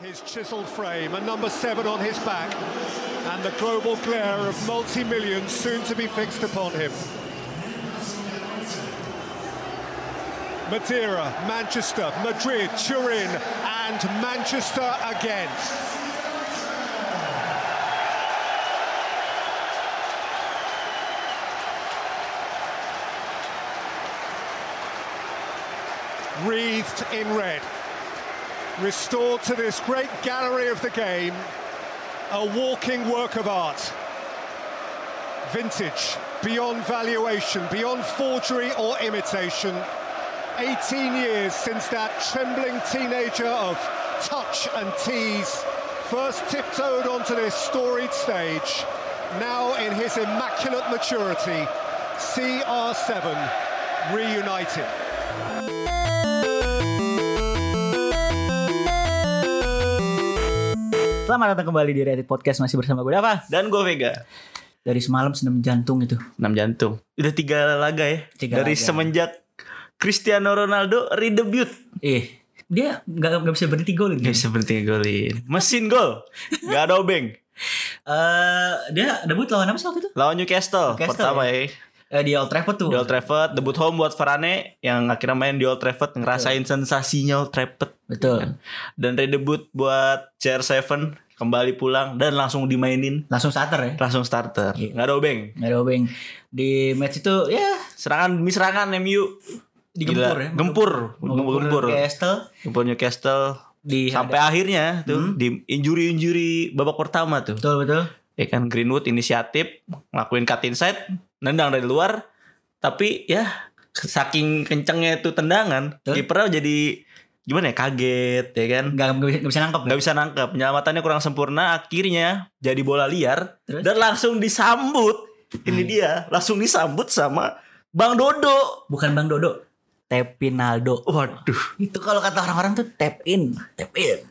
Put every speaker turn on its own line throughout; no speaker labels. His chiseled frame, a number seven on his back, and the global glare of multi millions soon to be fixed upon him. Madeira, Manchester, Madrid, Turin, and Manchester again. Wreathed in red restored to this great gallery of the game, a walking work of art. Vintage, beyond valuation, beyond forgery or imitation. 18 years since that trembling teenager of touch and tease first tiptoed onto this storied stage. Now, in his immaculate maturity, CR7 reunited.
Selamat datang kembali di Reddit Podcast masih bersama gue Dava.
Dan gue Vega.
Dari semalam senam jantung itu.
6 jantung. Udah tiga laga ya.
Tiga
Dari
laga.
semenjak Cristiano Ronaldo redebut.
Ih, dia nggak nggak bisa berhenti gol
Ya
gitu.
seperti golin. Mesin gol. Gak ada obeng.
Eh, dia debut lawan apa sih waktu itu?
Lawan Newcastle,
Newcastle
pertama ya.
Eh, di Old Trafford tuh.
Di Old Trafford debut home buat Varane yang akhirnya main di Old Trafford ngerasain sensasinya Old Trafford
Betul.
dan redebut buat CR7 kembali pulang dan langsung dimainin
Langsung starter ya.
langsung starter.
Iya.
Gak ada obeng.
Nggak ada obeng. Di match itu ya
Serangan demi serangan MU.
digempur
Gila.
ya.
Gempur.
Menggempur
Gempur.
Newcastle
Gempur Newcastle
di
sampai akhirnya tuh di injuri-injuri babak pertama tuh.
betul betul.
Ya kan Greenwood inisiatif ngelakuin cut inside, nendang dari luar, tapi ya saking kencengnya itu tendangan,
Betul.
kipernya jadi gimana ya kaget ya kan.
Nggak nggak bisa, nggak bisa nangkep.
nggak bisa nangkep, penyelamatannya kurang sempurna, akhirnya jadi bola liar
Terus?
dan langsung disambut. Ini dia, langsung disambut sama Bang Dodo.
Bukan Bang Dodo. Tepinaldo.
Waduh.
Itu kalau kata orang-orang tuh tap in, tap in.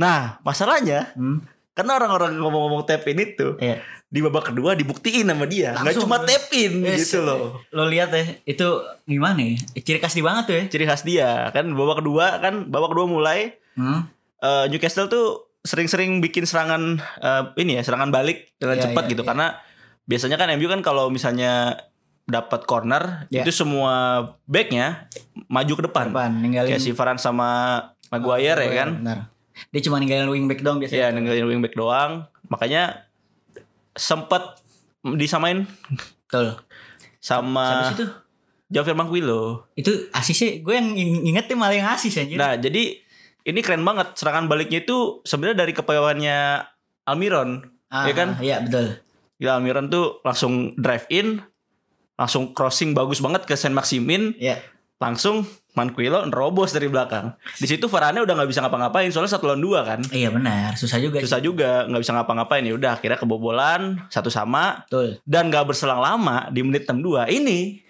Nah, masalahnya
Hmm.
karena orang-orang ngomong-ngomong tap in itu,
Iya.
di babak kedua dibuktiin sama dia nggak
Langsung. kan?
cuma tapin
Yes.
gitu loh
Lo lihat ya, itu gimana ya? Ciri khas dia banget tuh ya.
ciri khas dia kan babak kedua kan babak kedua mulai
Hmm.
eh, Newcastle tuh sering-sering bikin serangan eh, ini ya serangan balik dengan
Iya,
cepat
iya,
gitu
iya.
karena biasanya kan MU kan kalau misalnya dapat corner
Iya.
itu semua backnya maju ke depan,
Depan, ninggalin
kayak si Varane sama Maguire ya kan
Benar. Dia cuma ninggalin wingback doang
ya
biasanya.
ninggalin wingback doang makanya sempat disamain
Betul. Habis
sama
itu
Javier Manquillo
itu asis sih gue yang ing- inget tuh malah yang asis anjir.
Nah, jadi ini keren banget serangan baliknya itu sebenarnya dari kepewaannya Almiron.
Ah,
ya kan?
Iya, betul.
Gila Almiron tuh langsung drive in, langsung crossing bagus banget ke Saint Maximin,
Iya.
langsung Manquillo nerobos dari belakang. Di situ Varane udah nggak bisa ngapa-ngapain soalnya satu lawan dua kan.
Iya benar, susah juga. sih.
Susah juga nggak bisa ngapa-ngapain ya udah akhirnya kebobolan satu sama
Betul.
dan nggak berselang lama di menit 62 ini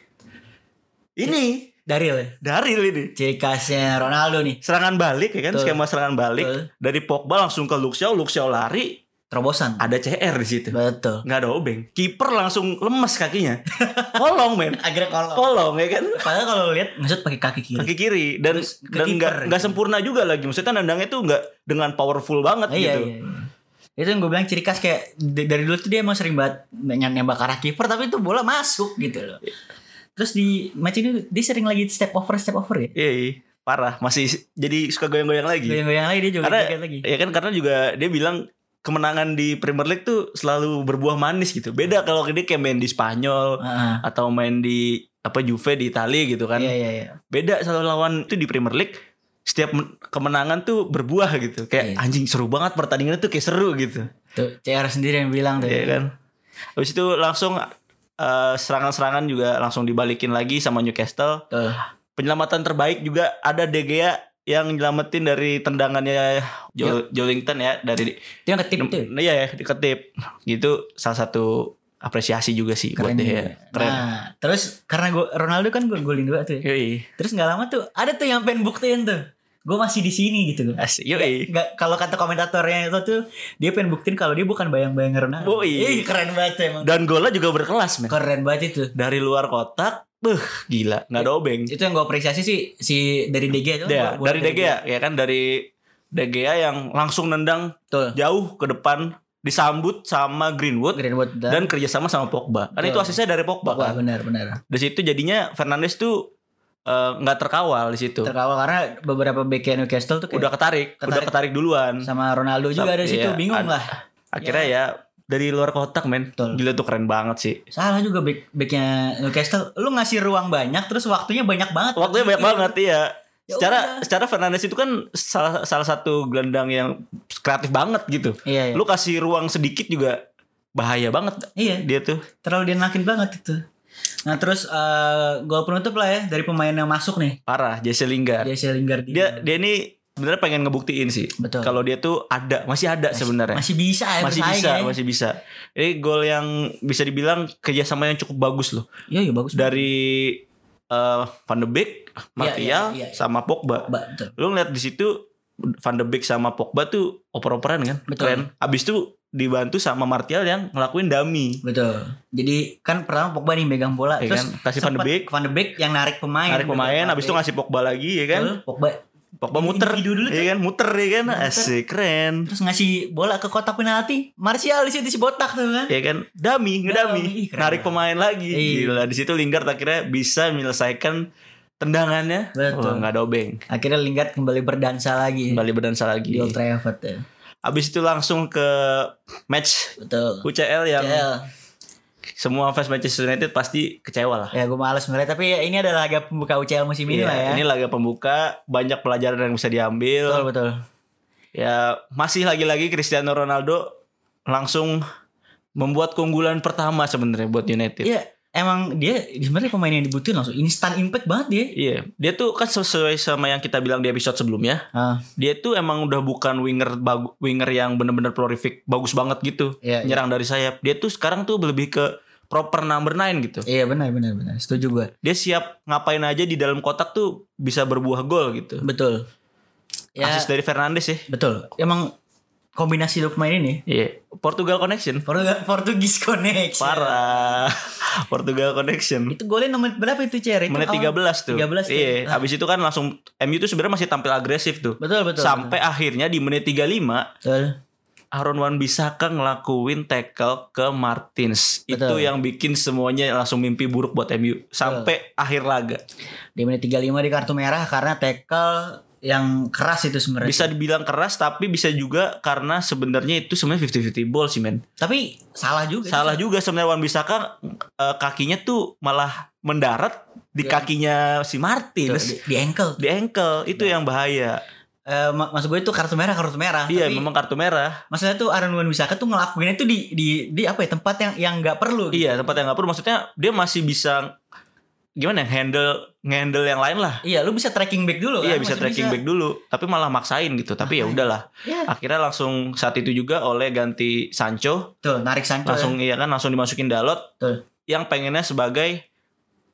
ini
Dari ya.
dari ini
Ciri khasnya Ronaldo nih,
serangan balik ya kan
Betul.
skema serangan balik
Betul.
dari Pogba langsung ke Luxiao Luxiao lari
terobosan.
ada CR di situ
Betul.
nggak ada obeng kiper langsung lemes kakinya kolong men
Akhirnya kalau
kolong ya kan
padahal kalau lu lihat ngesut pakai kaki kiri.
kaki kiri dan
Iya. Terus ke
dan nggak
kiper.
nggak sempurna juga lagi maksudnya nendangnya tuh nggak dengan powerful
Iya,
banget gitu
iya, iya. Itu yang gue bilang ciri khas kayak d- dari dulu tuh dia emang sering banget nyan- nembak ke arah kiper tapi itu bola masuk gitu loh. Terus di match ini dia sering lagi step over step over ya.
iya, iya. parah masih jadi suka goyang-goyang lagi
Goyang-goyang lagi dia juga
karena
joget lagi.
ya kan karena juga dia bilang kemenangan di Premier League tuh selalu berbuah manis gitu beda kalau dia kayak main di Spanyol
Heeh.
atau main di apa Juve di Italia gitu kan
Iya iya iya.
beda selalu lawan itu di Premier League setiap men- kemenangan tuh berbuah gitu
Iya.
kayak anjing seru banget pertandingannya tuh kayak seru gitu
Tuh CR sendiri yang bilang tuh.
ya kan habis itu langsung eh, serangan-serangan juga langsung dibalikin lagi sama Newcastle
Tuh.
penyelamatan terbaik juga ada De Gea yang nyelamatin dari tendangannya
Iya.
Jo- Jolington ya dari
Itu yang ketip tuh.
nah, iya ya diketip gitu salah satu apresiasi juga sih
Keren
buat De
juga.
Gea keren Iya.
Nah, terus karena gua Ronaldo kan gue golin dua tuh. ya.
yoi
Terus nggak lama tuh ada tuh yang pengen buktiin tuh. Gue masih di sini gitu.
asik yoi
Nggak kalau kata komentatornya itu tuh dia pengen buktiin kalau dia bukan bayang-bayang Ronaldo. Ih,
Woi.
keren banget tuh emang.
dan golnya juga berkelas men
Keren banget itu.
dari luar kotak beh
Iya,
gila nggak ada obeng Iya,
Itu yang gue apresiasi sih si dari DG itu.
Ya, dari DG ya, ya kan dari De Gea yang langsung nendang
Betul.
jauh ke depan disambut sama Greenwood,
Greenwood dan,
dan kerjasama sama Pogba. Kan itu
Betul.
asisnya dari Pogba,
Wah,
kan.
benar benar.
Di situ jadinya Fernandes tuh eh, nggak terkawal di situ.
Terkawal karena beberapa bek Newcastle tuh kayak
Udah ketarik,
Ketarik.
udah ketarik duluan.
sama Ronaldo juga ada
Tapi
situ
ya,
bingung
ad-
lah.
Akhirnya ya dari luar kotak men.
Betul.
Gila tuh keren banget sih.
Salah juga bek backnya Newcastle. Lu ngasih ruang banyak terus waktunya banyak banget.
Waktunya banyak banget iya.
Ya
secara
udah.
secara Fernandes itu kan salah salah satu gelandang yang kreatif banget gitu.
Iya, iya.
Lu kasih ruang sedikit juga bahaya banget.
Iya.
Dia tuh
Terlalu dienakin banget itu. Nah terus eh, gol penutup lah ya dari pemain yang masuk nih.
parah Jesse Lingard.
Jesse Lingard di-
Dia dia ini sebenarnya pengen ngebuktiin sih.
Betul.
Kalau dia tuh ada, masih ada sebenarnya.
masih bisa ya
Masih
bersaing
bisa,
ya.
masih bisa. Ini gol yang bisa dibilang kerjasama yang cukup bagus loh.
Iya iya bagus.
Dari eh, Van de Beek, Martial,
iya, iya, iya.
sama Pogba.
Ba- betul.
lu ngeliat di situ Van de Beek sama Pogba tuh oper-operan kan
Betul.
keren abis itu dibantu sama Martial yang ngelakuin dummy
Betul. Jadi kan pertama Pogba nih megang bola
Iya
terus
kan? Kasih Van de
sempet
Beek.
Van de Beek yang narik pemain.
narik pemain abis itu
Betul.
ngasih Pogba lagi ya kan
Betul, Pogba
Pogba muter
Individu dulu tuh.
ya kan muter ya kan asik keren
terus ngasih bola ke kotak penalti. Martial di situ si botak tuh kan.
ya kan dummy
Dummy, ih,
ngedummy
keren
narik
banget.
pemain lagi
Iya.
gila di situ Lingard akhirnya bisa menyelesaikan tendangannya
Betul. Iya.
Wah, nggak dobeng
Akhirnya Lingard kembali berdansa lagi
kembali berdansa lagi
di Old Trafford ya.
abis itu langsung ke match
Betul.
UCL yang
UCL.
semua fans Manchester United pasti kecewa lah
Ya gue males ngeliat tapi ya ini adalah laga pembuka UCL musim ini
Iya,
lah ya.
Ini laga pembuka, banyak pelajaran yang bisa diambil.
Betul betul.
Ya masih lagi-lagi Cristiano Ronaldo langsung membuat keunggulan pertama sebenarnya buat United.
Iya, emang dia sebenarnya pemain yang dibutuhin langsung instant impact banget dia.
Iya, dia tuh kan sesuai sama yang kita bilang di episode sebelumnya.
Ah,
Dia tuh emang udah bukan winger bagu- winger yang bener-bener prolific, bagus banget gitu,
Iya, iya.
nyerang dari sayap. Dia tuh sekarang tuh lebih ke proper number nine gitu.
iya benar benar benar. Setuju gue.
Dia siap ngapain aja di dalam kotak tuh bisa berbuah gol gitu.
Betul. Ya,
Asis dari Fernandes ya.
betul. Emang kombinasi dua pemain ini
Iya, Portugal connection.
Portu- Portugis Connect.
Parah. Portugal Connection.
Itu golnya nomor berapa itu Cer? Itu
Menit
awal-
13 tuh.
13 tuh.
Iya, habis itu kan langsung MU tuh sebenarnya masih tampil agresif tuh.
Ah. Betul betul.
Sampai akhirnya di menit 35
Betul.
Aaron Wan Bisaka ngelakuin tackle ke Martins. Itu
Betul.
yang bikin semuanya langsung mimpi buruk buat MU sampai akhir laga.
Di menit 35 di kartu merah karena tackle yang keras itu sebenarnya.
Bisa dibilang keras tapi bisa juga karena sebenarnya itu sebenarnya 50-50 ball sih men.
Tapi salah juga.
Salah juga sebenarnya Wan Bisaka eh, kakinya tuh malah mendarat di
Iya.
kakinya si
Itu,
Martins.
di, di ankle.
di ankle itu yang bahaya.
Eh, ma- maksud gue itu kartu merah kartu merah. Ah,
Iya,
Tapi
memang kartu merah.
maksudnya tuh Aaron Wan Bisaka tuh ngelakuinnya tuh di di di apa ya tempat yang yang nggak perlu. gitu.
Iya, tempat yang nggak perlu. Maksudnya dia masih bisa gimana ya, handle handle yang lain lah.
Iya, lu bisa tracking back dulu kan.
Iya bisa
Masih
tracking back dulu, tapi malah maksain gitu. Tapi ya
Maksain.
udahlah.
Iya.
Akhirnya langsung saat itu juga oleh ganti Sancho,
Tuh, narik Sancho.
langsung iya kan langsung dimasukin Dalot
Betul.
yang pengennya sebagai eh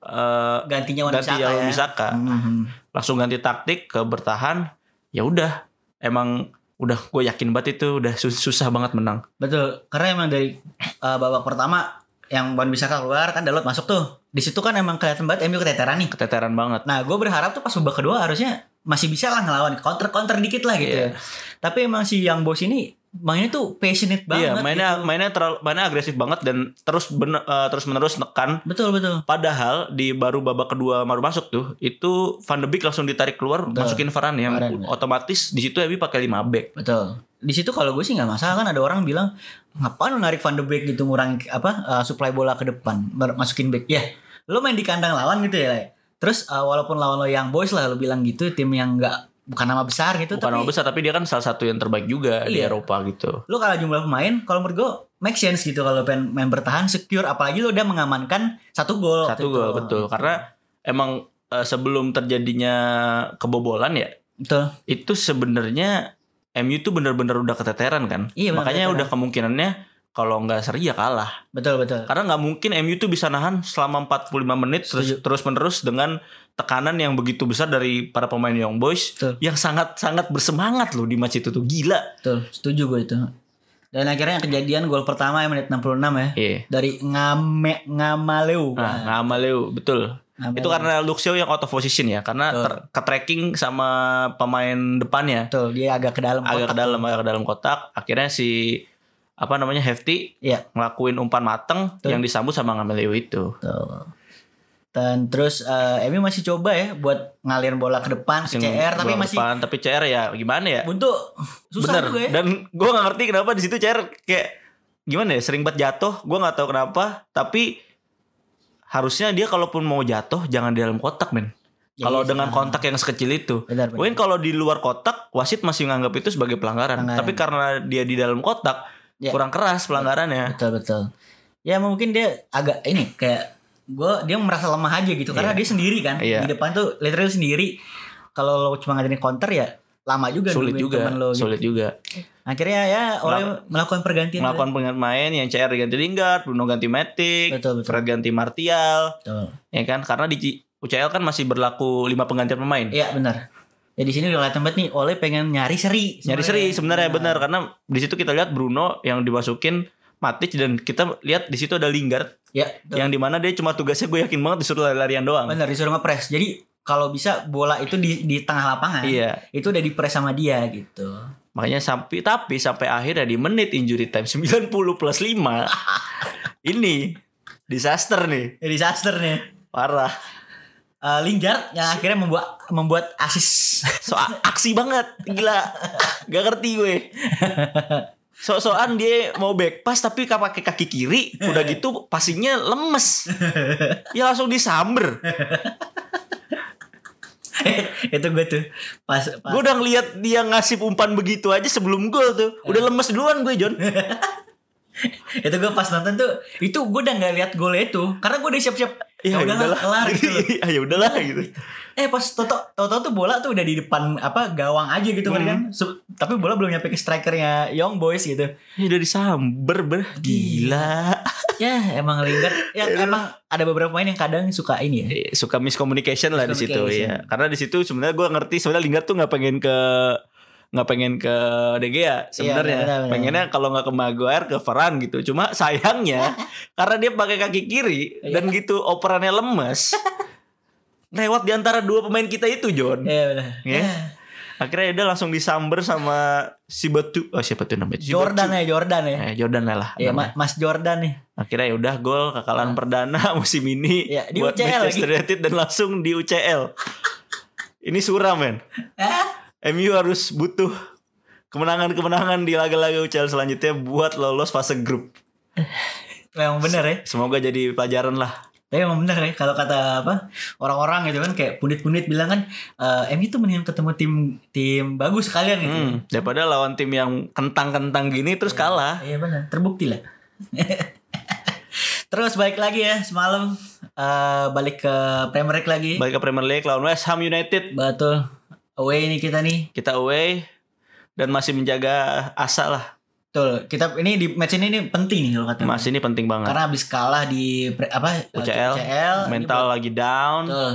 ya. gantinya Wan
ganti
Bisaka.
yang
ya.
Bisaka.
Mhm.
Langsung ganti taktik ke bertahan. Ya udah, emang udah gue yakin banget itu udah sus- susah banget menang.
Betul, karena emang dari uh, babak pertama yang Wan Bisaka keluar kan Dalot masuk tuh. Di situ kan emang kelihatan banget MU keteteran nih.
Keteteran banget.
Nah, gue berharap tuh pas babak kedua harusnya masih bisa lah ngelawan counter-counter dikit lah gitu.
Iya.
ya. Tapi emang si yang bos ini mainnya tuh passionate banget.
Iya, mainnya mainnya terlalu mainnya agresif banget dan terus bener- eh, terus menerus nekan.
gitu. Betul, betul.
Padahal di baru babak kedua baru masuk tuh itu Van de Beek langsung ditarik keluar
Betul.
masukin Varane yang
Varane. ya.
otomatis di situ MU pakai 5 back.
Betul. Di situ kalau gue sih nggak masalah kan ada orang bilang ngapain lu narik Van de Beek gitu ngurangin apa uh, supply bola ke depan, ber- masukin back. Ya, lu main di kandang lawan gitu ya. Le. Terus uh, walaupun lawan lo yang boys lah lu bilang gitu tim yang nggak bukan nama besar gitu
Bukan
tapi
nama besar tapi dia kan salah satu yang terbaik juga di
Iya.
Eropa gitu.
lu kalau jumlah pemain kalau menurut gue make sense gitu kalau pengen main bertahan secure apalagi lu udah mengamankan satu gol waktu
Satu
itu.
gol betul karena emang eh, sebelum terjadinya kebobolan ya
betul
itu sebenarnya MU tuh bener-bener udah keteteran kan.
Iya, bener,
Makanya
keteteran.
udah kemungkinannya kalau nggak seri ya kalah.
betul betul
Karena nggak mungkin MU tuh bisa nahan selama 45 menit terus terus menerus dengan tekanan yang begitu besar dari para pemain Young Boys
Betul.
yang sangat sangat bersemangat loh di match itu tuh gila.
betul setuju gue itu dan akhirnya yang kejadian gol pertama ya menit 66 ya
Iya.
dari ngame ngamaleu Nah.
Nah, nggak sama Leo, Nah, betul.
Nambah
Itu karena Luxio yang out of position ya, karena
Betul.
ter- ke tracking sama pemain depannya
betul dia agak ke dalam
agak ke
kotak.
dalam agak ke dalam kotak. Akhirnya si apa namanya Hefty
Iya.
ngelakuin umpan mateng
Betul.
yang disambut sama Ngamelio itu.
Betul. Dan terus eh, Emi masih coba ya buat ngalir bola ke depan ke CR tapi
Bola
masih
depan, tapi CR ya gimana ya?
buntu. Susah
Bener.
juga ya.
Dan gue gak ngerti kenapa di situ CR kayak gimana ya sering banget jatuh. Gue nggak tahu kenapa. Tapi harusnya dia kalaupun mau jatuh jangan di dalam kotak men.
Ya, iya
kalau
sih,
dengan
paham.
kontak yang sekecil itu.
Benar, benar.
Mungkin kalau di luar kotak wasit masih nganggap itu sebagai pelanggaran.
Pelanggaran.
Tapi karena dia di dalam kotak
Ya.
kurang keras pelanggarannya.
Betul betul. Ya mungkin dia agak ini kayak gue dia merasa lemah aja gitu karena dia sendiri kan
Iya.
di depan tuh literal sendiri. Kalau lo cuma ngadain counter ya lama juga
Sulit
nungguin
juga,
temen lo gitu.
sulit juga.
Akhirnya ya oleh melakukan pergantian.
Melakukan pemain yang CR ganti Lingard, Bruno ganti Matic,
Betul, betul.
Fred ganti Martial,
Betul.
ya kan? Karena di UCL kan masih berlaku lima penggantian pemain.
Iya benar. Ya di sini udah kelihatan banget nih Oleh pengen nyari seri.
nyari seri sebenarnya
iya.
benar karena di situ kita lihat Bruno yang dimasukin Matic dan kita lihat di situ ada Lingard
Ya.
yang dimana dia cuma tugasnya gue yakin banget disuruh lari-larian doang.
Benar disuruh ngepres. Jadi kalau bisa bola itu di di tengah lapangan.
Iya,
Itu udah dipres sama dia gitu.
makanya sampai tapi sampai akhirnya di menit injury time 90 plus 5 ini disaster nih,
Ya, disaster nih.
parah.
Eh, Lingard yang akhirnya membuat membuat asis.
So aksi banget, gila. Gak ngerti gue. So-soan dia mau back pass tapi ka- pakai kaki kiri, udah gitu passingnya lemes. Ya langsung disamber.
itu gue tuh pas, pas
Gue udah ngeliat dia ngasih umpan begitu aja sebelum gol tuh.
Ya.
Udah lemes duluan gue John.
itu gue pas nonton tuh itu gue udah nggak lihat gol itu karena gue udah siap-siap
Ya
udah
udahlah.
kelar gitu loh.
Ah, ya udahlah gitu.
eh pas toto toto tuh bola tuh udah di depan apa gawang aja gitu kan
Hmm.
kan Se- tapi bola belum nyampe ke strikernya young boys gitu
Ya udah disamber ber. Gila.
ya emang Lingard ya
Iya.
emang ada beberapa pemain yang kadang suka ini ya
Eh, Suka miscommunication lah di situ
Miscommunication. iya.
ya. Karena di situ sebenarnya gue ngerti sebenarnya Lingard tuh nggak pengen ke nggak pengen ke De Gea
Iya, benar,
sebenarnya
benar.
pengennya kalau nggak ke Maguire ke Varane gitu cuma sayangnya karena dia pakai kaki kiri
Iya.
dan gitu operannya lemes lewat di antara dua pemain kita itu John
Iya benar.
ya. Akhirnya dia langsung disamber sama si Batu. Oh, siapa tuh namanya? Si
Jordan
Batu.
ya, Jordan ya.
Eh, Jordan lah.
Ya,
namanya.
Ma- Mas Jordan nih.
Akhirnya ya udah gol kekalahan perdana musim ini
Ya, di
buat
UCL
Manchester
lagi.
United dan langsung di UCL. ini suram, men. MU harus butuh kemenangan-kemenangan di laga-laga UCL selanjutnya buat lolos fase grup.
Memang benar ya.
Semoga jadi pelajaran lah.
Tapi emang benar ya kalau kata apa orang-orang gitu kan kayak pundit-pundit bilang kan eh MU tuh mendingan ketemu tim tim bagus sekalian gitu.
Hmm, daripada lawan tim yang kentang-kentang gini terus kalah.
Iya benar, terbukti lah. Terus balik lagi ya semalam eh balik ke Premier League lagi.
Balik ke Premier League lawan West Ham United.
Betul. Away nih kita nih.
kita away dan masih menjaga asa lah.
Betul. Kita ini di match ini, ini penting nih kalau kata.
Nah, Mas ini penting banget.
Karena habis kalah di pre- apa eh,
UCL,
ini
mental
buat-
lagi down.
Betul.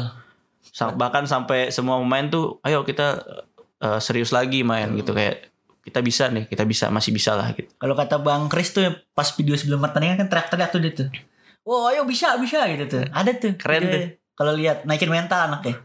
Sa- Bahkan sampai semua pemain tuh, ayo kita eh, serius lagi main gitu kayak kita bisa nih, kita bisa masih bisa lah gitu.
Kalau kata Bang Chris tuh pas video sebelum pertandingan kan teriak-teriak tuh dia tuh. Wow, ayo bisa bisa gitu tuh. Ada tuh.
Keren
Dia-
tuh.
Kalau lihat naikin mental anaknya.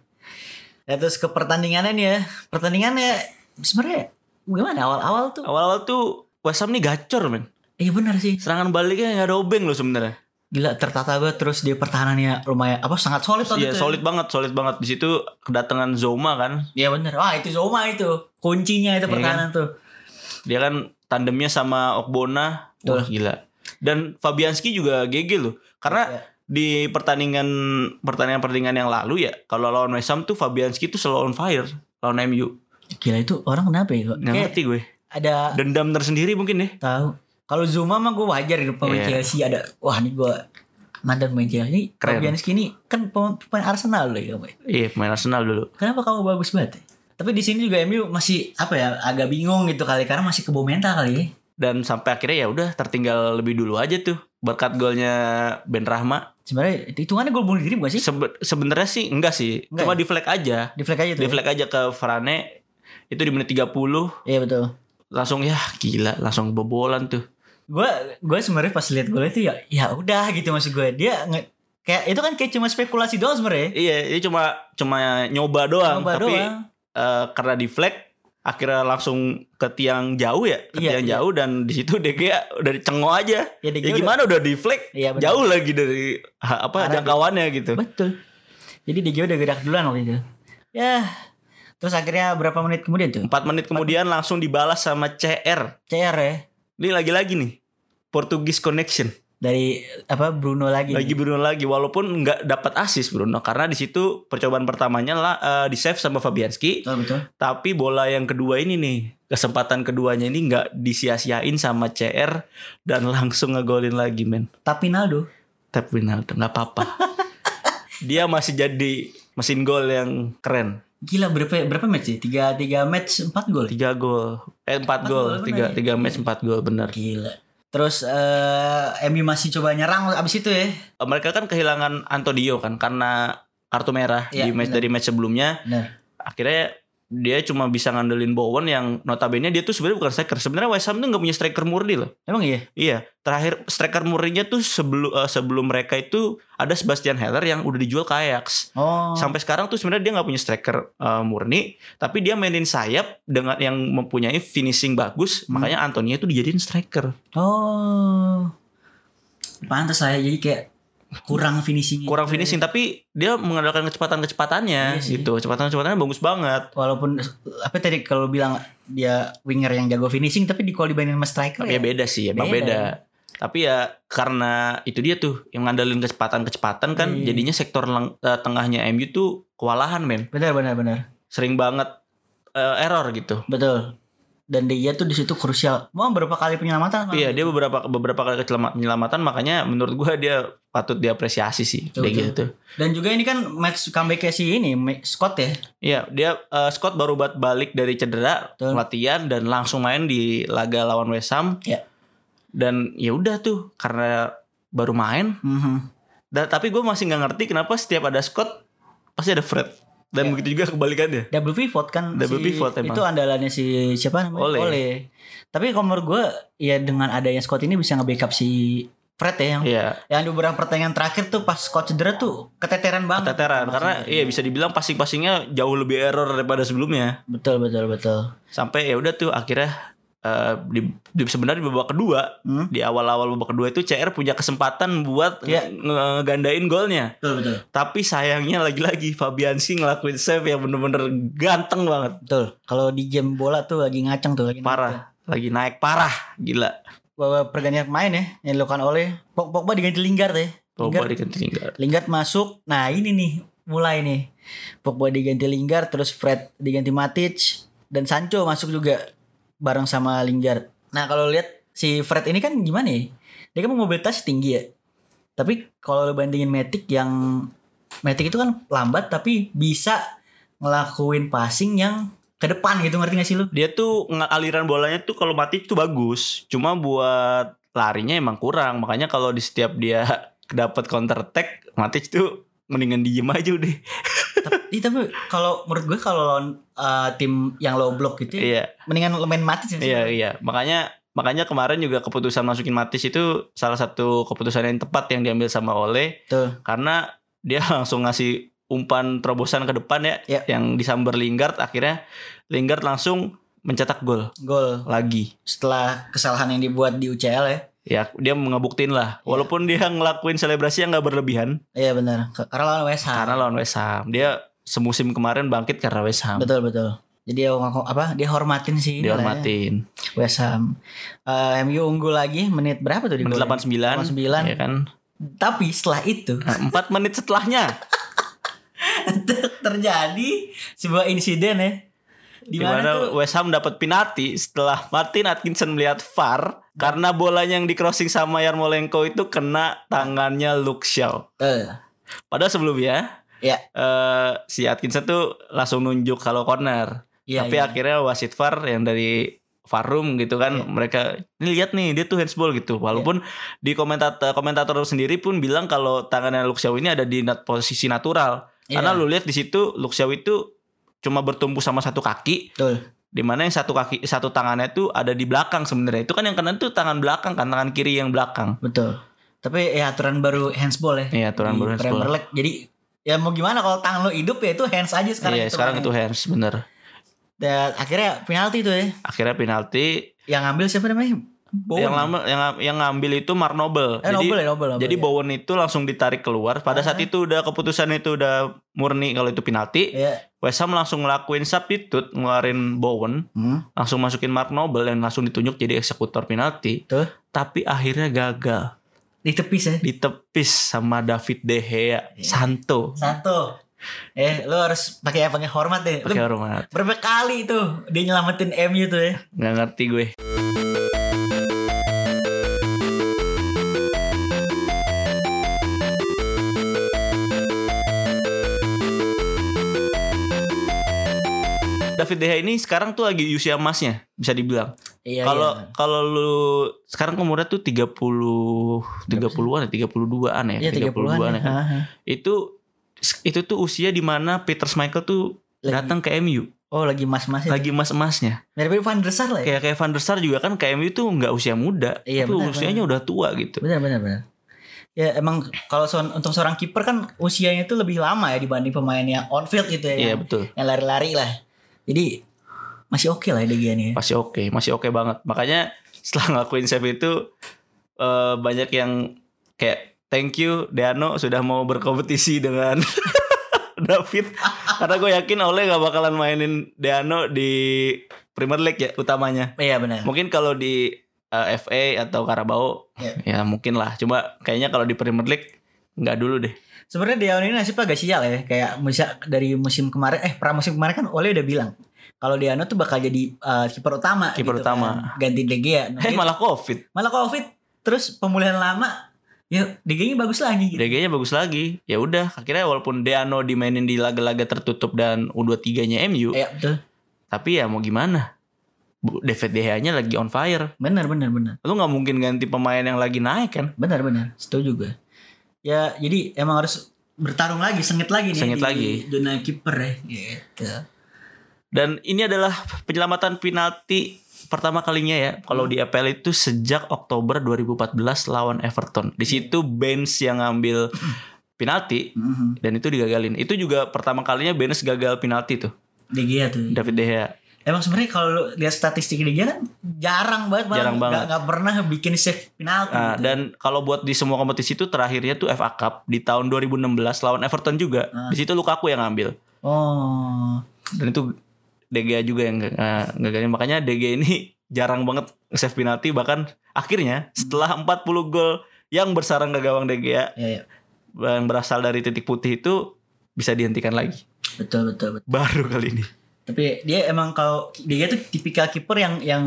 Ya terus ke pertandingannya nih ya. Pertandingannya sebenarnya gimana awal-awal tuh?
Awal-awal tuh West Ham nih gacor men.
Iya benar sih.
Serangan baliknya nggak ada obeng loh sebenarnya.
Gila tertata banget terus dia pertahanannya lumayan apa sangat solid waktu itu.
Iya
ya?
solid banget, solid banget di situ kedatangan Zoma kan.
Iya benar. Wah, itu Zoma itu. Kuncinya itu
Iya
pertahanan tuh.
Dia kan tandemnya sama Okbona. Wah gila. Dan Fabianski juga GG loh. Karena
Iya.
di pertandingan pertandingan pertandingan yang lalu ya kalau lawan West Ham tuh Fabianski tuh selalu on fire lawan MU
Gila itu orang kenapa ya?
nggak
Kayak
ngerti gue
ada
dendam tersendiri mungkin ya. deh
tahu. Kalau Zuma mah gue wajar di depan
Iya.
Chelsea ada wah ini gue mantan pemain Chelsea ini
Keren.
Fabianski ini kan pemain, pemain Arsenal loh ya Boy.
iya pemain Arsenal dulu
Kenapa kamu bagus banget? ya? Tapi di sini juga MU masih apa ya agak bingung gitu kali karena masih kebo mental kali. ya.
dan sampai akhirnya ya udah tertinggal lebih dulu aja tuh berkat golnya Ben Rahma
Sebenarnya hitungannya gol bunuh diri bukan sih?
Sebe- sebenarnya sih enggak ya? sih
Enggak
cuma di flag aja
Di flag aja
di
tuh. ya?
flag aja ke Varane itu di menit 30
Iya betul.
langsung ya gila langsung kebobolan tuh
Gue gue sebenarnya pas lihat golnya itu ya ya udah gitu maksud gue dia nge- Kayak itu kan kayak cuma spekulasi doang sebenarnya. ya.
Iya, ini cuma cuma nyoba doang.
Nyoba
tapi
doang.
eh, karena di flag akhirnya langsung ke tiang jauh ya, ke
Iya,
tiang
iya.
jauh dan di situ DG udah dicengok aja.
Ya, DG
ya gimana udah, di flag
Iya, benar.
jauh lagi dari ha- apa
Arah
jangkauannya gitu.
Betul. Jadi DG udah gerak duluan waktu itu. Ya. Terus akhirnya berapa menit kemudian tuh?
Empat menit kemudian langsung dibalas sama CR.
CR ya
Ini lagi-lagi nih Portugis Connection.
dari apa Bruno lagi.
Lagi Bruno lagi walaupun nggak dapat asis Bruno karena di situ percobaan pertamanya lah eh, di save sama Fabianski.
Betul betul.
Tapi bola yang kedua ini nih, kesempatan keduanya ini nggak disia-siain sama CR dan langsung ngegolin lagi men.
Tapi Naldo
Tap Ronaldo nggak apa-apa. Dia masih jadi mesin gol yang keren.
gila berapa berapa match sih? Tiga tiga match empat gol.
Tiga gol, eh
Empat
empat
gol,
gol, tiga
bener.
tiga match empat gol bener.
Gila. Terus eh MU masih coba nyerang abis itu ya.
Eh, Mereka kan kehilangan Antonio kan karena kartu merah
Iya,
di match
bener.
dari match sebelumnya.
Benar.
Akhirnya dia cuma bisa ngandelin Bowen yang notabene dia tuh sebenarnya bukan striker. Sebenarnya West Ham tuh nggak punya striker murni loh.
Emang iya?
Iya, terakhir striker murninya tuh sebelum eh, sebelum mereka itu ada Sebastian Heller yang udah dijual ke Ajax.
Oh.
Sampai sekarang tuh sebenarnya dia nggak punya striker eh, murni, tapi dia mainin sayap dengan yang mempunyai finishing
Hmm.
bagus,
Gitu
makanya Antonio itu dijadiin striker.
Oh. Pantas lah ya jadi kayak kurang finishing
Kurang finishing tapi dia mengandalkan
ya.
kecepatan-kecepatannya
Iya sih.
gitu. Kecepatan-kecepatannya bagus banget.
walaupun apa tadi kalau bilang dia winger yang jago finishing tapi di kalau dibandingin sama striker
Tapi ya beda sih, emang
Beda.
beda. Tapi ya karena itu dia tuh yang ngandelin kecepatan-kecepatan kan
Iya.
jadinya sektor leng- eh, tengahnya MU tuh kewalahan, men.
benar benar benar
sering banget eh, error gitu.
betul dan dia tuh di situ krusial mau berapa kali penyelamatan Bang?
Iya, dia beberapa beberapa kali kecelama- penyelamatan makanya menurut gua dia patut diapresiasi sih
Betul,
kayak
betul.
gitu.
dan juga ini kan match comeback si ini Ma- Scott ya
Iya, dia eh, Scott baru buat balik dari cedera
Betul.
latihan dan langsung main di laga lawan West Ham.
Iya.
Dan ya udah tuh karena baru main
Mhm.
dan tapi gua masih nggak ngerti kenapa setiap ada Scott pasti ada Fred.
Iya.
Dan begitu juga kebalikannya.
double pivot kan
Double pivot emang.
itu andalannya si siapa namanya
Ole.
tapi kalau menurut gue ya dengan adanya Scott ini bisa nge-backup si Fred ya yang
Iya,
yang di beberapa pertandingan terakhir tuh pas Scott cedera tuh keteteran banget
teteran karena iya bisa dibilang passing-passingnya jauh lebih error daripada sebelumnya.
betul betul betul
sampai ya udah tuh akhirnya eh, di, di sebenarnya di babak kedua
Hmm?
di awal-awal babak kedua itu CR punya kesempatan buat
Iya.
nge- ngegandain golnya
betul betul
tapi sayangnya lagi-lagi Fabianski ngelakuin save yang bener-bener ganteng banget
betul kalau di game bola tuh lagi ngaceng tuh lagi
parah lagi naik parah gila
bahwa pergantian pemain ya yang dilakukan oleh Pog- Pogba diganti Lingard ya.
Pogba
Lingard,
diganti Lingard.
Lingard masuk. Nah, ini nih mulai nih. Pogba diganti Lingard terus Fred diganti Matic dan Sancho masuk juga bareng sama Lingard. Nah, kalau lihat si Fred ini kan gimana ya? Dia kan mobilitas tinggi ya. Tapi kalau lu bandingin Matic yang Matic itu kan lambat tapi bisa ngelakuin passing yang ke depan gitu ngerti gak sih lu?
dia tuh nge- aliran bolanya tuh kalau mati tuh bagus cuma buat larinya emang kurang makanya kalau di setiap dia dapat counter attack Matic tuh mendingan diem aja udah
Ih, tapi kalau menurut gue kalau lawan uh, tim yang low block gitu ya,
iya
mendingan lo main mati sih.
Iya iya makanya makanya kemarin juga keputusan masukin Matis itu salah satu keputusan yang tepat yang diambil sama Ole
Betul.
karena dia langsung ngasih umpan terobosan ke depan ya
Iya.
yang disamber Lingard akhirnya Lingard langsung mencetak gol
Gol
lagi
setelah kesalahan yang dibuat di UCL ya.
ya dia ngebuktiin lah walaupun dia ngelakuin selebrasi yang nggak berlebihan
Iya benar. Ke- Karena lawan West Ham.
karena lawan West Ham dia semusim kemarin bangkit karena West Ham
Betul betul. Jadi dia ngaku- apa? Dia hormatin sih. inilah ya,
dihormatin
West Ham. Eh, MU unggul lagi menit berapa tuh di
menit
golnya?
89
89.
ya kan
Tapi setelah itu
Nah, empat menit setelahnya
terjadi sebuah insiden ya. Di mana
Dimana
tuh?
West Ham dapat penalti setelah Martin Atkinson melihat VAR karena bolanya yang di crossing sama Yarmolenko itu kena tangannya Luke Shaw.
Eh,
Padahal sebelumnya
ya.
eh, si Atkinson tuh langsung nunjuk kalau corner.
Iya,
Tapi
iya.
akhirnya wasit VAR yang dari VAR room gitu kan mereka ini lihat nih dia tuh handsball gitu.
Iya.
Walaupun di komentator komentator sendiri pun bilang kalau tangannya Luke Shaw ini ada di nat- posisi natural.
Iya.
Karena lu lihat di situ Luke Shaw itu cuma bertumpu sama satu kaki
Betul.
di mana yang satu kaki satu tangannya tuh ada di belakang sebenarnya itu kan yang kanan tuh tangan belakang kan tangan kiri yang belakang
Betul. Tapi ya aturan baru handsball ya.
Iya,
Di
aturan baru handsball.
Premier League. Jadi ya mau gimana kalau tangan lo hidup ya itu kan ya. hands aja sekarang.
Iya, sekarang itu
hitungannya.
hands bener.
Dan akhirnya penalti tuh ya.
Akhirnya penalti
Yang ngambil siapa namanya? Bowen.
yang lama yang yang ngambil itu Mark Noble.
Eh, Noble ya, Noble, Noble,
jadi
iya.
Bowen itu langsung ditarik keluar. Pada saat itu udah keputusan itu udah murni kalau itu penalti.
Iya.
West Ham langsung ngelakuin substitute, ngeluarin Bowen,
Hmm.
langsung masukin Mark Noble yang langsung ditunjuk jadi eksekutor penalti.
Tuh.
Tapi akhirnya gagal,
Di tepis ya.
ditepis sama David De
Iya.
Gea, Santo.
Satu. Eh, lo harus pakai pakai hormat deh. Lu
Pakai hormat.
Berapa kali itu dia nyelamatin MU tuh ya?
Nggak ngerti gue. David De Gea ini sekarang tuh lagi di usia emasnya bisa dibilang.
Iya.
Kalau
iya.
kalau lu sekarang umurnya tuh 30 30-an ya, 32-an ya,
Iya 30-an.
ya.
ya. Ah, ah.
Itu itu tuh usia di mana Peter Schmeichel tuh
Lagi-
datang ke MU
Oh, lagi mas-mas ya.
lagi emas-emasnya.
Mirip-mirip Van der Sar lah ya.
Kayak kayak Van der Sar juga kan ke MU tuh nggak usia muda,
Iya,
tapi
benar,
usianya udah tua gitu.
Benar benar benar. Ya emang kalau soal- untuk seorang kiper kan usianya itu lebih lama ya dibanding pemain yang on field gitu ya.
Iya,
yang-
betul.
Yang lari-lari lah. Jadi masih oke lah ya De Gea nih. ya.
Masih oke, masih oke banget. Makanya setelah ngelakuin save itu eh, banyak yang kayak thank you Deano sudah mau berkompetisi dengan David karena gue yakin Oleh gak bakalan mainin Deano di Premier League ya utamanya.
Iya benar.
Mungkin kalau di eh, FA atau Karabau
Iya.
ya mungkin lah. Cuma kayaknya kalau di Premier League nggak dulu deh.
Sebenarnya Deon ini nasibnya agak sial ya. Kayak musim dari musim kemarin eh pramusim kemarin kan Ole udah bilang kalau Deano tuh bakal jadi eh, kiper utama
Kiper
gitu kan.
utama.
ganti De Gea. Nah,
Eh
dia-
malah COVID.
malah Covid terus pemulihan lama ya De Gea-nya bagus lagi gitu.
DG-nya bagus lagi. Ya udah, akhirnya walaupun Deano dimainin di laga-laga tertutup dan U23-nya MU,
Iya betul.
tapi ya mau gimana? Bu- David De Gea-nya lagi on fire.
Benar benar benar.
Lu nggak mungkin ganti pemain yang lagi naik kan?
Benar benar, setuju gue. Ya, jadi emang harus bertarung lagi, sengit lagi nih di
Sengit lagi.
zona kiper ya. Gitu.
Dan ini adalah penyelamatan penalti pertama kalinya ya. Kalau di EPL itu sejak Oktober 2014 lawan Everton. Di situ Benz yang ngambil penalti
Mhm.
dan itu digagalin. Itu juga pertama kalinya Benz gagal penalti tuh.
De Gea tuh.
David De Gea.
Emang sebenarnya kalau lu lihat statistik De Gea kan jarang banget malah
Jarang
nggak-
banget.
nggak pernah bikin save penalti.
Nah,
gitu.
dan kalau buat di semua kompetisi itu terakhirnya tuh FA Cup di tahun 2016 lawan Everton juga.
Ah.
Di situ Lukaku yang ngambil.
Oh.
Dan itu DGA juga yang eh, gagalin. Makanya DG ini jarang banget save penalti bahkan akhirnya setelah 40 gol yang bersarang ke gawang DGA
Ya, ya.
yang berasal dari titik putih itu bisa dihentikan lagi.
Betul, betul, betul.
Baru kali ini.
Tapi dia emang kalau De Gea tuh tipikal kiper yang yang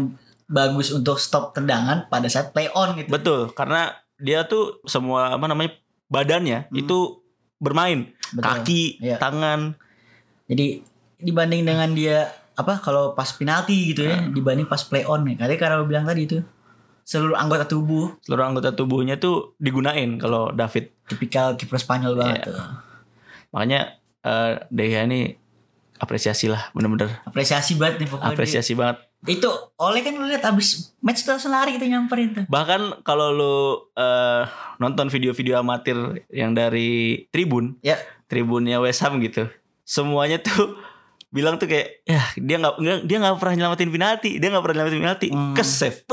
bagus untuk stop tendangan pada saat play on gitu.
Betul, karena dia tuh semua apa namanya badannya itu bermain.
Hmm. Betul.
Kaki,
Iya.
tangan,
Jadi dibanding dengan dia apa kalau pas penalti gitu ya dibanding pas play on ya. Katanya karena lo bilang tadi itu seluruh anggota tubuh
seluruh anggota tubuhnya tuh digunain kalau David
tipikal kiper Spanyol banget tuh.
makanya eh De Gea ini apresiasi lah bener-bener
Apresiasi banget nih pokoknya.
apresiasi banget
dia. Itu oleh kan lu lihat abis match tuh langsung lari gitu nyamperin tuh.
bahkan kalau lu eh, nonton video-video amatir yang dari tribun
Ya.
tribunnya West Ham gitu semuanya tuh bilang tuh kayak ya dia nggak nggak- dia nggak pernah nyelamatin penalti dia nggak pernah nyelamatin penalti
Hmm.
kesef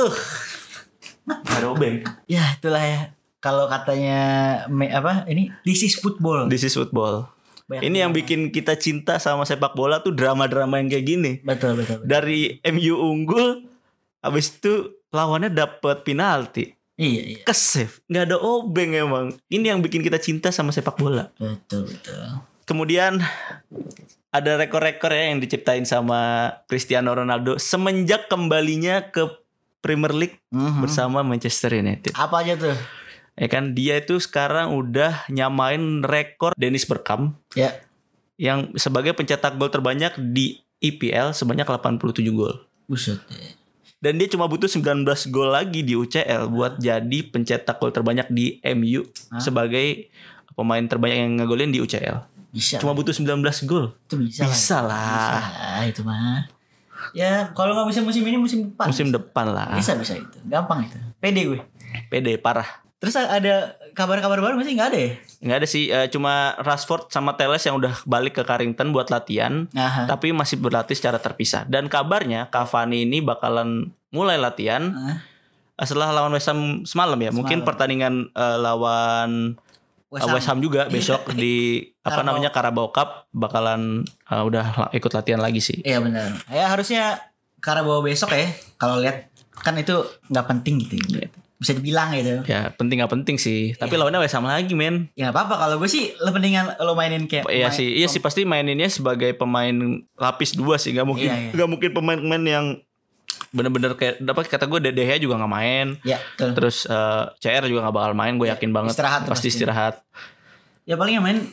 Robeng
Ya itulah ya. Kalau katanya me- apa ini this is football.
this is football
Banyak
ini yang bikin kita cinta sama sepak bola tuh drama-drama yang kayak gini
Betul betul. betul.
dari MU unggul habis itu lawannya dapat penalti
Iya iya.
kesef nggak ada obeng emang ini yang bikin kita cinta sama sepak bola
Betul betul.
kemudian ada rekor-rekor ya yang diciptain sama Cristiano Ronaldo semenjak kembalinya ke Premier League
Mhm.
bersama Manchester United
Apa aja tuh?
ya kan dia itu sekarang udah nyamain rekor Dennis Bergkamp
Ya.
yang sebagai pencetak gol terbanyak di EPL sebanyak 87 gol
Buset. ya.
Dan dia cuma butuh 19 gol lagi di UCL
Ah.
buat jadi pencetak gol terbanyak di MU sebagai pemain terbanyak yang ngegolin di UCL.
Bisa.
Cuma butuh 19 gol.
itu bisa, lah.
Bisa lah.
Bisa lah, itu mah. Ya kalau nggak musim musim ini musim depan.
Musim depan lah.
Bisa bisa itu, gampang itu. Pede gue.
Pede parah.
Terus ada kabar-kabar baru masih nggak ada ya?
Nggak ada sih, eh, cuma Rashford sama Teles yang udah balik ke Carrington buat latihan,
Aha.
tapi masih berlatih secara terpisah. Dan kabarnya Cavani ini bakalan mulai latihan
Hah?
eh, setelah lawan West Ham semalam ya. Mungkin
Semalam.
pertandingan eh, lawan eh,
West Ham. Iya.
West Ham juga besok di apa
Carabao.
namanya Carabao Cup bakalan eh, udah la- ikut latihan lagi sih.
Iya benar. Ya harusnya Karabau besok ya. Kalau lihat kan itu nggak penting gitu.
Iya.
Bisa dibilang gitu.
Ya penting nggak penting sih,
Iya.
tapi lawannya West Ham lagi men.
Ya nggak apa-apa kalau gue sih lo mendingan lo mainin kayak
Iya
main-
sih, iya sih pasti maininnya sebagai pemain lapis dua sih, nggak mungkin,
Iya,
nggak
iya.
mungkin pemain-pemain yang bener-bener kayak dapat kata gue De Gea juga nggak main,
Ya, betul.
terus eh, CR juga nggak bakal main, gue yakin banget
Iya, istirahat
pasti
pasti.
istirahat.
Ya paling yang main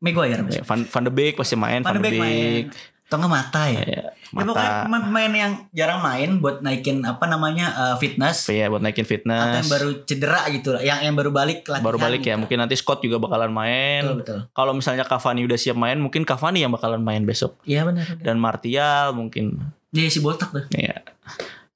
Maguire.
Ya, Van, Van de Beek pasti main, Van, de Beek,
main. Atau nggak mata ya.
Ya,
Ya pokoknya
mata,
pemain-pemain yang jarang main buat naikin apa namanya uh, fitness
ya buat naikin
atau yang
fitness, baru,
baru cedera gitu lah, yang yang baru balik latihan.
balik ya,
gitu.
mungkin nanti Scott juga bakalan
Betul
main.
betul.
Kalau misalnya Cavani udah siap main, mungkin Cavani yang bakalan main besok
Iya benar.
dan Martial mungkin.
Dia si botak tuh.
Ya.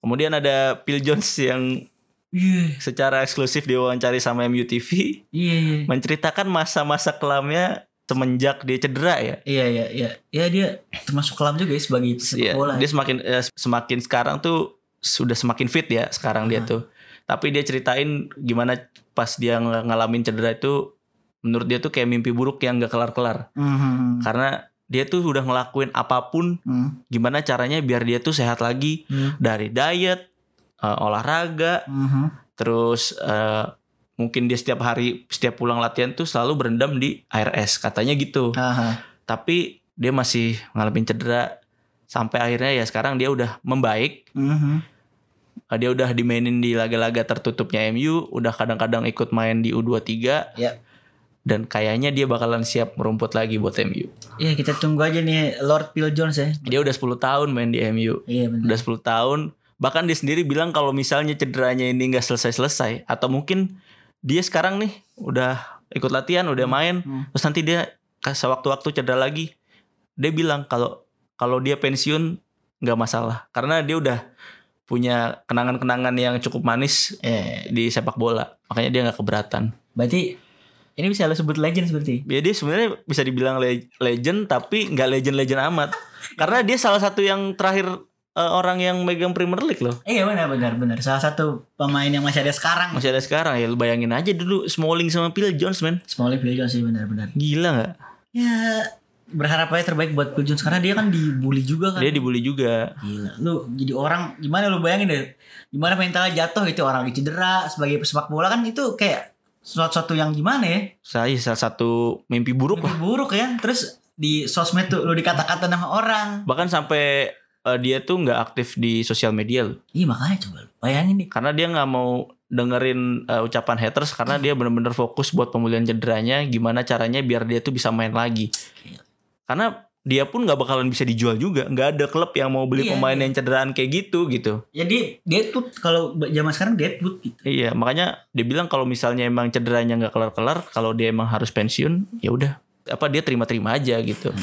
Kemudian ada Phil Jones yang
Iya.
secara eksklusif diwawancari sama MUTV
Iya iya.
menceritakan masa-masa kelamnya semenjak dia cedera ya.
Iya iya iya. Ya dia termasuk kelam juga ya sebagai sepak
Iya,
bola.
dia semakin eh, semakin sekarang tuh sudah semakin fit ya sekarang dia
Ah.
tuh. Tapi dia ceritain gimana pas dia ng- ngalamin cedera itu menurut dia tuh kayak mimpi buruk yang gak kelar-kelar.
Mhm.
Karena dia tuh udah ngelakuin apapun
Hmm.
gimana caranya biar dia tuh sehat lagi
Hmm.
dari diet, eh, olahraga,
Mhm.
terus eh, mungkin dia setiap hari setiap pulang latihan tuh selalu berendam di air es katanya gitu
Aha.
tapi dia masih ngalamin cedera sampai akhirnya ya sekarang dia udah membaik
Mhm.
Eh, dia udah dimainin di laga-laga tertutupnya MU udah kadang-kadang ikut main di U23
Ya.
dan kayaknya dia bakalan siap merumput lagi buat MU
Ya kita tunggu aja nih Lord Phil Jones ya.
dia udah 10 tahun main di MU
Iya benar.
udah 10 tahun bahkan dia sendiri bilang kalau misalnya cederanya ini nggak selesai-selesai atau mungkin dia sekarang nih udah ikut latihan udah main
Hmm.
terus nanti dia sewaktu-waktu cedera lagi dia bilang kalau kalau dia pensiun nggak masalah karena dia udah punya kenangan-kenangan yang cukup manis
Eh,
di sepak bola makanya dia nggak keberatan
berarti ini bisa lo sebut legend seperti.
ya dia sebenarnya bisa dibilang le- legend tapi nggak legend-legend amat karena dia salah satu yang terakhir eh, orang yang megang Premier League loh
Iya benar benar benar. Salah satu pemain yang masih ada sekarang.
masih ada sekarang ya lu bayangin aja dulu Smalling sama Phil Jones men
Smalling Phil Jones sih benar benar.
gila nggak
Ya berharap aja terbaik buat Phil Jones karena dia kan dibully juga kan.
dia dibully juga
Gila, lu jadi orang gimana lu bayangin deh. Gimana mentalnya jatuh gitu orang lagi cedera sebagai pesepak bola kan itu kayak sesuatu yang gimana ya?
saya salah satu mimpi buruk
Lebih
lah
buruk ya. Terus di sosmed tuh lu dikata-kata sama orang.
bahkan sampai eh, dia tuh nggak aktif di sosial media loh
Iya makanya coba lu bayangin nih.
karena dia nggak mau dengerin eh, ucapan haters karena dia bener-bener fokus buat pemulihan cederanya gimana caranya biar dia tuh bisa main lagi karena dia pun nggak bakalan bisa dijual juga nggak ada klub yang mau beli
Iya,
pemain
iya.
yang cederaan kayak gitu gitu
Jadi deadwood kalau ba- zaman sekarang deadwood gitu.
Iya, makanya dia bilang kalau misalnya emang cederanya nggak kelar-kelar, kalau dia emang harus pensiun, ya udah apa dia terima-terima aja gitu.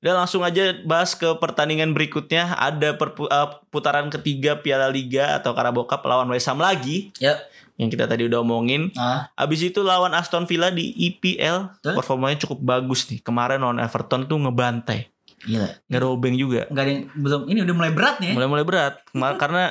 Dan langsung aja bahas ke pertandingan berikutnya ada perpu- eh, putaran ketiga Piala Liga atau Carabao Cup lawan West Ham lagi
Ya.
yang kita tadi udah omongin.
Ah,
Abis itu lawan Aston Villa di EPL
Betul.
performanya cukup bagus nih. Kemarin lawan Everton tuh ngebantai,
gila.
ngerobeng juga.
Enggak ada yang belum ini udah mulai berat nih. Ya.
Mulai-mulai berat Kemar- karena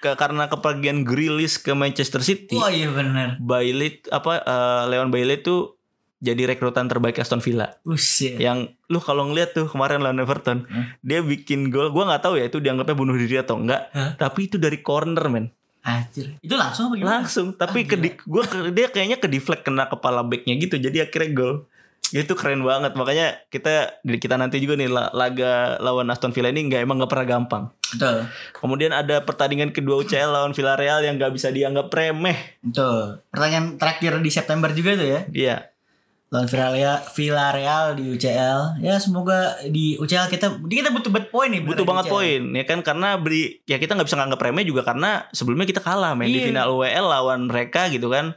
ke- karena kepergian Grealish ke Manchester City.
Wah iya benar.
Bailey apa eh, Leon Bailey tuh jadi rekrutan terbaik Aston Villa.
Usia.
Yang lu kalau ngeliat tuh kemarin lawan Everton,
Hmm.
dia bikin gol. Gua nggak tahu ya itu dianggapnya bunuh diri atau enggak,
Hah?
tapi itu dari corner men.
Anjir. Itu langsung apa gimana?
Langsung,
Ah,
tapi ke di- gua ke- dia kayaknya ke deflect kena kepala backnya gitu. Jadi akhirnya gol. Ya, Itu keren banget. Makanya kita kita nanti juga nih la- laga lawan Aston Villa ini nggak emang nggak pernah gampang.
Betul.
Kemudian ada pertandingan kedua UCL lawan Villarreal yang nggak bisa dianggap remeh.
Betul. Pertanyaan terakhir di September juga tuh ya.
Iya,
Lawan Villarreal, Villarreal di UCL. Ya semoga di UCL kita kita butuh banget poin nih.
butuh
beneran
banget
di UCL.
poin ya kan karena beri ya kita nggak bisa nganggap remeh juga karena sebelumnya kita kalah main di
Iya.
final UEL lawan mereka gitu kan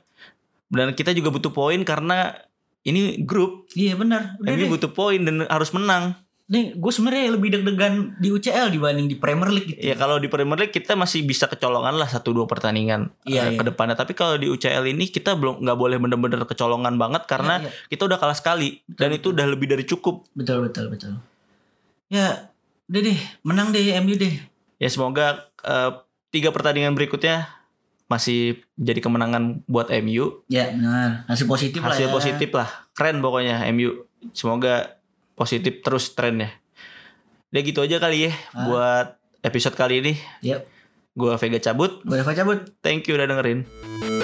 dan kita juga butuh poin karena ini grup
Iya benar. Udah
ini
deh.
butuh poin dan harus menang
nih gue sebenarnya lebih deg-degan di UCL dibanding di Premier League gitu.
Ya kalau di Premier League kita masih bisa kecolongan lah satu dua pertandingan
Iya,
eh,
iya.
ke depannya. Tapi kalau di UCL ini kita belum nggak boleh bener-bener kecolongan banget karena
Iya, iya.
kita udah kalah sekali dan itu udah lebih dari cukup.
Betul betul betul. Ya udah deh, menang deh MU deh.
Ya semoga eh, tiga pertandingan berikutnya masih jadi kemenangan buat MU.
Ya benar, hasil positif lah.
Hasil
ya.
positif lah, keren pokoknya MU. Semoga positif terus trennya. Udah gitu aja kali ya
Ah.
buat episode kali ini.
Ya,
Gua Vega cabut.
boleh cabut.
Thank you udah dengerin.